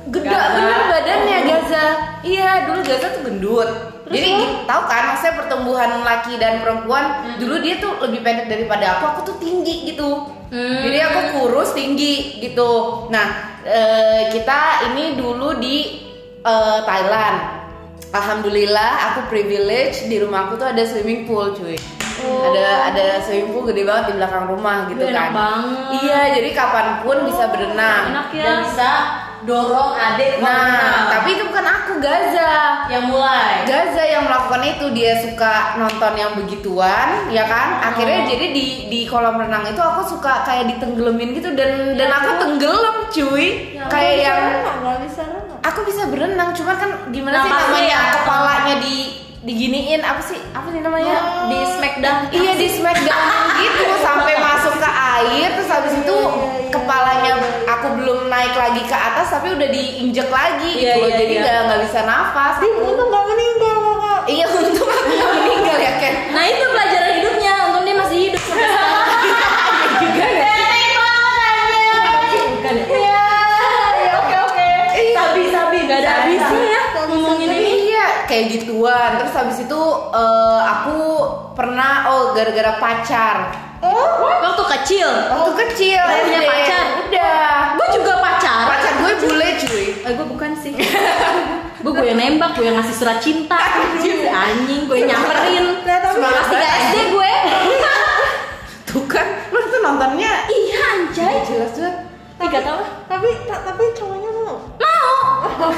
[SPEAKER 2] gede
[SPEAKER 1] Gaza. Oh.
[SPEAKER 2] bener badannya Gaza iya dulu Gaza tuh gendut jadi gitu, tahu kan maksudnya pertumbuhan laki dan perempuan dulu dia tuh lebih pendek daripada aku aku tuh tinggi gitu
[SPEAKER 1] Hmm.
[SPEAKER 2] jadi aku kurus tinggi gitu nah eh, kita ini dulu di eh, Thailand Alhamdulillah aku privilege di rumah aku tuh ada swimming pool cuy ada ada swimming pool gede banget di belakang rumah gitu
[SPEAKER 1] Ih, Oh.
[SPEAKER 2] kan
[SPEAKER 1] enak banget.
[SPEAKER 2] iya jadi kapanpun bisa berenang
[SPEAKER 1] Enak ya.
[SPEAKER 3] dan bisa dorong adik
[SPEAKER 2] Nah,
[SPEAKER 3] menang.
[SPEAKER 2] tapi itu bukan aku Gaza.
[SPEAKER 3] yang mulai
[SPEAKER 2] Gaza yang melakukan itu dia suka nonton yang begituan, ya
[SPEAKER 4] Oh.
[SPEAKER 2] kan? Akhirnya jadi di di kolam renang itu aku suka kayak ditenggelamin gitu dan dan aku tenggelam, cuy.
[SPEAKER 4] Nggak
[SPEAKER 2] kayak
[SPEAKER 4] Ya, bisa
[SPEAKER 2] yang
[SPEAKER 4] renang, nggak bisa renang Nah,
[SPEAKER 2] aku bisa berenang, cuman kan gimana sih
[SPEAKER 1] Napasnya
[SPEAKER 2] namanya
[SPEAKER 1] ya.
[SPEAKER 2] kepalanya di diginiin apa sih apa sih namanya
[SPEAKER 1] Iya.
[SPEAKER 4] Oh.
[SPEAKER 1] Di Smackdown.
[SPEAKER 2] Iya di smackdown gitu sampai masuk ke air terus habis itu
[SPEAKER 4] Iya,
[SPEAKER 2] kepalanya aku belum naik lagi ke atas tapi udah diinjek lagi
[SPEAKER 1] Iya,
[SPEAKER 2] gitu loh.
[SPEAKER 1] iya,
[SPEAKER 2] jadi
[SPEAKER 1] iya.
[SPEAKER 2] nggak nggak bisa nafas.
[SPEAKER 4] Ih, untung nggak meninggal kakak
[SPEAKER 2] Iya untung aku nggak meninggal ya Ken.
[SPEAKER 1] Nah itu pelajaran hidupnya, untung dia masih hidup sampai sekarang. Juga ya. Bukan ya?
[SPEAKER 2] Iya oke oke.
[SPEAKER 1] Sabi, sabi, nggak ada habisnya ya ngomongin ini.
[SPEAKER 2] Iya kayak gituan terus habis itu eh, aku pernah oh gara-gara pacar.
[SPEAKER 4] oh
[SPEAKER 1] Waktu kecil,
[SPEAKER 2] Waktu kecil
[SPEAKER 1] Lo punya
[SPEAKER 2] SD.
[SPEAKER 1] pacar?
[SPEAKER 2] Udah.
[SPEAKER 1] gue juga pacar.
[SPEAKER 2] Pacar gue bule cuy.
[SPEAKER 1] Eh, gue bukan sih. gue gue yang nembak, gue yang ngasih surat cinta. Anjing, anjing gue nyamperin.
[SPEAKER 4] Nah, tapi-
[SPEAKER 1] Kelas 3 SD gue.
[SPEAKER 2] Tuh kan lu tuh nontonnya
[SPEAKER 1] Iya anjay.
[SPEAKER 2] jelas banget.
[SPEAKER 1] Tiga tahun.
[SPEAKER 4] tapi ta- tapi cowoknya mau
[SPEAKER 1] Mau.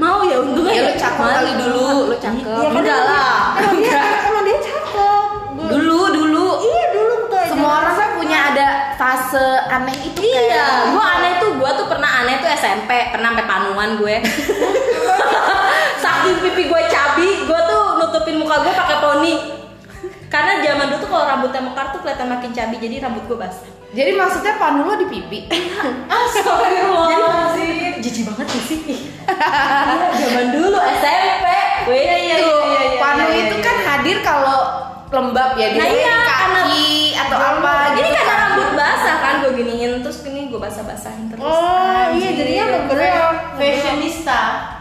[SPEAKER 1] Mau ya untungnya
[SPEAKER 2] Ya lu cakep kali dulu, lu cakep.
[SPEAKER 1] Iya, kan enggak lah.
[SPEAKER 4] emang dia emang dia cakep Gua-
[SPEAKER 1] Dulu, dulu.
[SPEAKER 4] iya dulu tuh aja.
[SPEAKER 2] Semua orang kan punya ada fase aneh itu
[SPEAKER 1] Iya,
[SPEAKER 2] kayak-
[SPEAKER 1] gue aneh tuh, gue tuh pernah aneh tuh SMP, pernah sampai panuan gue. Saking pipi gue cabi, gue tuh nutupin muka gue pakai poni. Karena zaman dulu tuh kalau rambutnya mekar tuh kelihatan makin cabi, jadi rambut gue basah.
[SPEAKER 2] Jadi maksudnya panu lo di pipi.
[SPEAKER 3] Astagfirullahaladzim
[SPEAKER 1] Jijik banget gak sih. Iya, zaman dulu SMP. Wih, iya,
[SPEAKER 2] Tuh, panu
[SPEAKER 3] iya,
[SPEAKER 2] itu kan hadir kalau lembab ya di
[SPEAKER 1] Nah, iya,
[SPEAKER 2] kaki atau apa
[SPEAKER 1] Jadi
[SPEAKER 2] gitu.
[SPEAKER 1] karena rambut basah kan gue giniin, terus gini gue basah-basahin terus. Ah, gitu.
[SPEAKER 4] oh iya jadinya menggerak
[SPEAKER 3] fashionista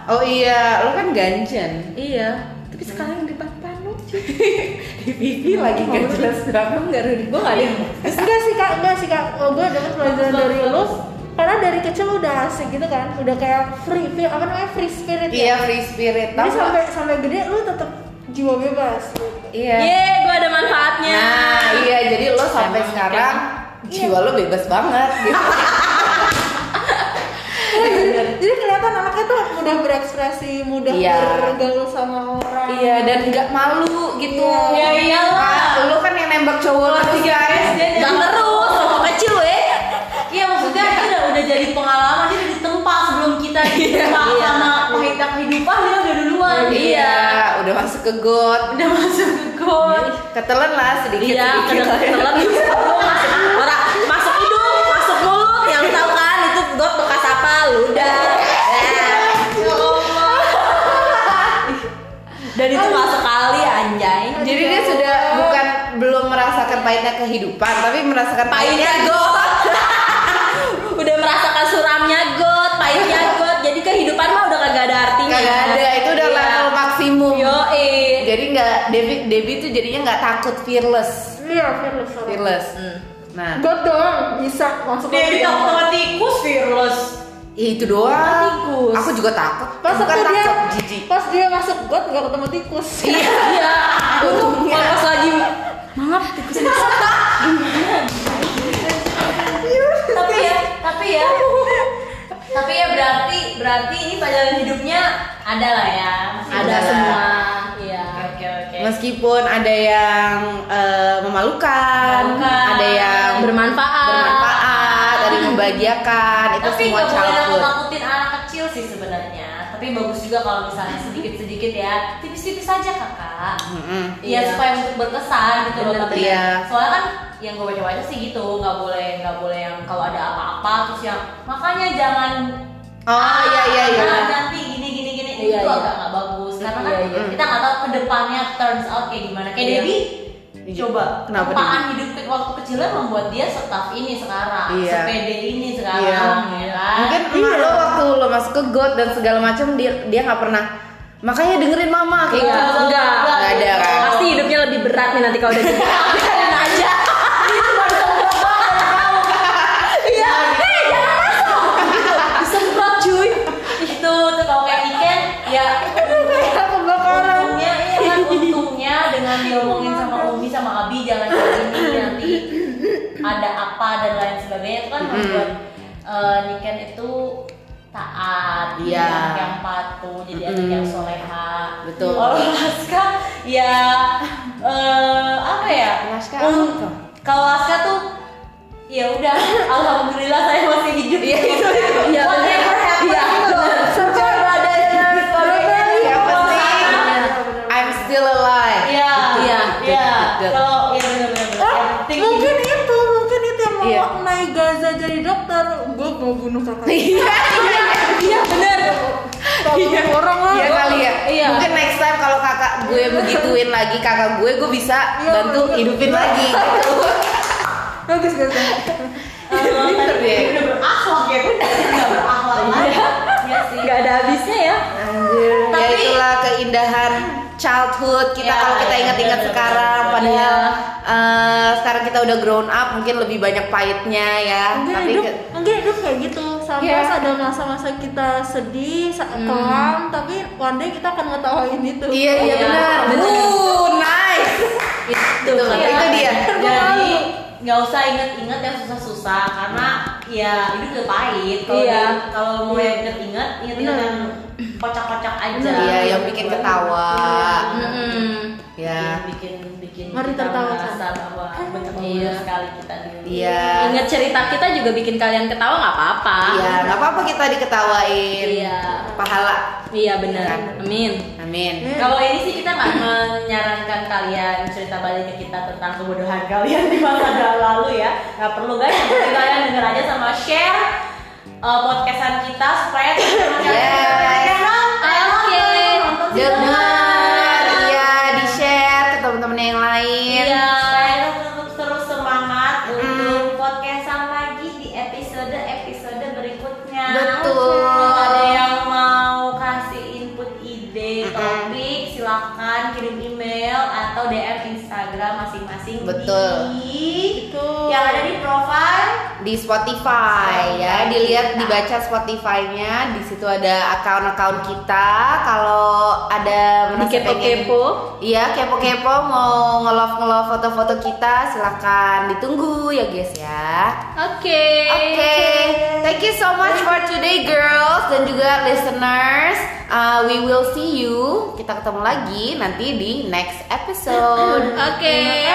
[SPEAKER 2] Oh iya, lo kan ganjen.
[SPEAKER 1] Iya, tapi sekarang di panu cuy.
[SPEAKER 2] Di pipi lagi gak jelas banget enggak Rudi.
[SPEAKER 1] Gue gak ada yang
[SPEAKER 4] enggak sih kak enggak sih kak gue dapet pelajaran dari lu karena dari kecil udah asik gitu kan udah kayak free feel apa namanya free spirit
[SPEAKER 2] Iya,
[SPEAKER 4] ya
[SPEAKER 2] free spirit.
[SPEAKER 4] jadi
[SPEAKER 2] Tau nggak?
[SPEAKER 4] sampai sampai gede lu tetap jiwa bebas
[SPEAKER 2] Iya.
[SPEAKER 1] Yeay, gue Eh, ada manfaatnya.
[SPEAKER 2] Nah, iya jadi lo sampai
[SPEAKER 1] Emang Iya.
[SPEAKER 2] sekarang jiwa lo bebas banget gitu.
[SPEAKER 4] jadi, jadi kelihatan anaknya tuh mudah berekspresi mudah
[SPEAKER 2] Iya.
[SPEAKER 4] bergaul sama orang
[SPEAKER 2] Iya dan nggak malu gitu.
[SPEAKER 1] Iya, iyalah.
[SPEAKER 2] Nah, lu kan yang nembak cowok lu
[SPEAKER 3] Kelas tiga
[SPEAKER 2] kan.
[SPEAKER 3] SD
[SPEAKER 1] Gak terus, waktu kecil weh.
[SPEAKER 3] Iya maksudnya itu udah, udah jadi pengalaman dia udah ditempa sebelum kita ditempa
[SPEAKER 1] Iya.
[SPEAKER 3] sama pahitnya kehidupan dia udah duluan
[SPEAKER 2] Iya, udah masuk ke got.
[SPEAKER 3] udah masuk ke got
[SPEAKER 2] Ketelan lah sedikit
[SPEAKER 1] Iya,
[SPEAKER 2] sedikit.
[SPEAKER 1] ketelan masuk orang masuk hidung, masuk mulut, yang tahu kan itu got bekas apa, ludah. Eh. Dan itu nggak sekali anjay.
[SPEAKER 2] Jadi dia sudah bukan belum merasakan pahitnya kehidupan, tapi merasakan
[SPEAKER 1] Pahitnya got. udah merasakan suramnya got, pahitnya got. Jadi kehidupan mah udah kagak ada artinya.
[SPEAKER 2] Gak ada, itu udah
[SPEAKER 1] Iya.
[SPEAKER 2] level maksimum.
[SPEAKER 1] Yo, eh Yoi.
[SPEAKER 2] jadi nggak Debbie Debbie tuh jadinya nggak takut fearless
[SPEAKER 4] Iya, fearless. sorry.
[SPEAKER 2] fearless nah
[SPEAKER 4] Gue doang bisa masuk
[SPEAKER 3] Dia
[SPEAKER 4] ke
[SPEAKER 3] bilang sama tikus fearless.
[SPEAKER 2] ya itu doang
[SPEAKER 1] Tikus.
[SPEAKER 2] aku juga takut
[SPEAKER 4] Pas
[SPEAKER 2] bukan
[SPEAKER 4] waktu dia,
[SPEAKER 2] takut jijik
[SPEAKER 4] pas dia masuk got nggak ketemu tikus.
[SPEAKER 1] Iya. Aku tuh kalau pas lagi maaf tikus
[SPEAKER 3] tapi ya, tapi ya. tapi ya berarti berarti ini pelajaran hidupnya ada lah ya. Masih
[SPEAKER 2] Ada
[SPEAKER 3] ada
[SPEAKER 2] lah.
[SPEAKER 3] semua. Iya. Oke oke.
[SPEAKER 2] meskipun ada yang eh, memalukan,
[SPEAKER 3] Memalukan.
[SPEAKER 2] ada yang
[SPEAKER 1] bermanfaat.
[SPEAKER 2] bermanfaat ada yang membahagiakan itu
[SPEAKER 3] Tapi
[SPEAKER 2] semua
[SPEAKER 3] nggak boleh
[SPEAKER 2] childhood
[SPEAKER 3] nakutin anak kecil sih sebenarnya. Tapi bagus juga kalau misalnya sedikit-sedikit ya, tipis-tipis aja kakak.
[SPEAKER 2] Mm-mm.
[SPEAKER 1] Iya.
[SPEAKER 3] Iya supaya untuk berkesan gitu loh
[SPEAKER 1] Bener,
[SPEAKER 3] tapi
[SPEAKER 2] iya.
[SPEAKER 3] soalnya kan yang gue baca-baca sih gitu nggak boleh nggak boleh yang kalau ada apa-apa terus yang makanya jangan
[SPEAKER 2] oh iya iya iya
[SPEAKER 3] "Ah, nanti gini gini gini
[SPEAKER 1] Iya,
[SPEAKER 3] itu
[SPEAKER 1] iya.
[SPEAKER 3] agak nggak bagus karena kan
[SPEAKER 1] Iya, iya.
[SPEAKER 3] kita nggak tahu kedepannya turns out kayak gimana kayak
[SPEAKER 1] Iya.
[SPEAKER 3] Debbie
[SPEAKER 2] Iya.
[SPEAKER 3] coba
[SPEAKER 2] Kenapa
[SPEAKER 3] tempaan hidup ke- waktu kecilnya membuat dia setaf ini sekarang
[SPEAKER 2] Iya.
[SPEAKER 3] sepede ini sekarang
[SPEAKER 2] Iya.
[SPEAKER 3] ya kan?
[SPEAKER 2] mungkin emak lo waktu lo masuk ke god dan segala macam dia dia nggak pernah makanya dengerin mama kayak
[SPEAKER 1] Iya.
[SPEAKER 2] gitu
[SPEAKER 1] enggak. Iya,
[SPEAKER 2] Enggak ada, kan?
[SPEAKER 1] Pasti hidupnya lebih berat nih nanti kalau udah gede. Biarin aja. Iya. Hei, jangan masuk. Disemprot cuy.
[SPEAKER 3] itu tuh kalau kayak Niken ya
[SPEAKER 4] Kayak kebakaran.
[SPEAKER 3] untungnya iya kan untungnya dengan diomongin sama Umi sama Abi jangan kayak gini nanti ada apa dan lain sebagainya itu kan membuat eh, Niken itu taat jadi
[SPEAKER 2] Iya.
[SPEAKER 3] anak yang patuh jadi anak
[SPEAKER 2] Mm-mm.
[SPEAKER 3] yang soleha
[SPEAKER 2] Betul.
[SPEAKER 3] kalau Laska ya eh, apa ya
[SPEAKER 2] Laska
[SPEAKER 3] Un-
[SPEAKER 2] apa tuh?
[SPEAKER 3] kalau Laska tuh ya udah alhamdulillah saya masih hidup ya itu
[SPEAKER 1] Iya, bener.
[SPEAKER 3] whatever happened
[SPEAKER 1] Iya,
[SPEAKER 3] gitu.
[SPEAKER 1] bener.
[SPEAKER 3] Survive rather than
[SPEAKER 2] Iya.
[SPEAKER 3] survive.
[SPEAKER 2] yang penting I'm still alive
[SPEAKER 3] Iya, iya,
[SPEAKER 2] Gitu,
[SPEAKER 3] iya.
[SPEAKER 2] gitu.
[SPEAKER 3] Kalau iya benar-benar. Yang
[SPEAKER 4] Ah,
[SPEAKER 3] penting
[SPEAKER 4] mungkin itu, mungkin itu yang
[SPEAKER 2] Iya.
[SPEAKER 4] memaknai Gaza jadi dokter. Gue mau bunuh kakak.
[SPEAKER 2] Iya,
[SPEAKER 1] Iya bener.
[SPEAKER 4] Iya. orang lah.
[SPEAKER 2] iya kali ya.
[SPEAKER 1] Iya.
[SPEAKER 2] Mungkin next time kalau kakak gue begituin lagi kakak gue, gue bisa
[SPEAKER 4] Iya,
[SPEAKER 2] bantu
[SPEAKER 4] bener.
[SPEAKER 2] hidupin lagi. Gitu.
[SPEAKER 4] Bagus guys.
[SPEAKER 3] eh,
[SPEAKER 2] Pinter
[SPEAKER 3] tadi
[SPEAKER 2] deh.
[SPEAKER 3] udah berakhlak ya, udah nggak berakhlak lagi. Iya sih.
[SPEAKER 1] Gak ada habisnya ya.
[SPEAKER 2] Anjir. ya
[SPEAKER 3] Tapi-
[SPEAKER 2] itulah keindahan childhood kita
[SPEAKER 3] Ya,
[SPEAKER 2] kalau kita ingat-ingat
[SPEAKER 3] bener,
[SPEAKER 2] sekarang
[SPEAKER 3] bener.
[SPEAKER 2] padahal eh, sekarang kita udah grown up mungkin lebih banyak pahitnya ya
[SPEAKER 4] Mungkin
[SPEAKER 2] tapi
[SPEAKER 4] hidup,
[SPEAKER 2] ke-
[SPEAKER 4] mungkin hidup kayak gitu. Sampai
[SPEAKER 2] Iya. Hmm.
[SPEAKER 4] ada masa-masa kita sedih, sa- kelam, tapi one day kita akan ngetawain itu.
[SPEAKER 2] iya iya
[SPEAKER 3] Iya, Gitu.
[SPEAKER 2] benar
[SPEAKER 3] bener.
[SPEAKER 2] Wuh, nice
[SPEAKER 3] Itu,
[SPEAKER 2] Itu, itu dia.
[SPEAKER 3] Iya. Jadi nggak usah inget-inget yang susah-susah karena ya hidup udah pahit. Kalau
[SPEAKER 1] Iya.
[SPEAKER 3] di- kalau mau yang inget-inget, inget-inget yang kocak-kocak aja.
[SPEAKER 2] iya yang bikin ketawa ya
[SPEAKER 3] Ya. Bikin bikin
[SPEAKER 4] Mari
[SPEAKER 3] kita
[SPEAKER 4] tertawa,
[SPEAKER 3] merasa bahwa
[SPEAKER 1] Iya.
[SPEAKER 3] betapa mulia sekali kita dulu.
[SPEAKER 2] iya
[SPEAKER 1] Ingat cerita kita juga bikin kalian ketawa nggak apa-apa.
[SPEAKER 2] iya nggak apa-apa kita diketawain
[SPEAKER 1] Iya.
[SPEAKER 2] pahala
[SPEAKER 1] Iya bener.
[SPEAKER 2] Kan.
[SPEAKER 1] Amin.
[SPEAKER 2] amin
[SPEAKER 4] Eh,
[SPEAKER 3] Kalau ini sih kita nggak menyarankan kalian cerita balik ke kita tentang kebodohan kalian di masa lalu ya. Nggak perlu guys, Yang penting kalian denger aja sama share uh, podcastan kita spread.
[SPEAKER 2] Yes.
[SPEAKER 1] Oke.
[SPEAKER 2] dengar iya di share ke teman-teman yang lain
[SPEAKER 3] Iya, saya tetap terus semangat
[SPEAKER 2] Mm.
[SPEAKER 3] untuk podcastan lagi di episode episode berikutnya.
[SPEAKER 2] Betul.
[SPEAKER 3] Kalau ada yang mau kasih input ide
[SPEAKER 2] Mm-mm.
[SPEAKER 3] topik, silakan kirim email atau DM Instagram masing-masing.
[SPEAKER 2] Betul.
[SPEAKER 3] Di
[SPEAKER 4] Itu.
[SPEAKER 3] yang ada di profile.
[SPEAKER 2] di Spotify ya dilihat dibaca Spotify-nya di situ ada account-account kita kalau ada merasa pengen-
[SPEAKER 1] Dikepo-kepo.
[SPEAKER 2] iya kepo-kepo mau ngelove ngelove foto-foto kita silahkan ditunggu ya guys ya
[SPEAKER 1] Oke.
[SPEAKER 2] oke thank you so much for today girls dan juga listeners Uh, we will see you kita ketemu lagi nanti di next episode
[SPEAKER 1] Oke.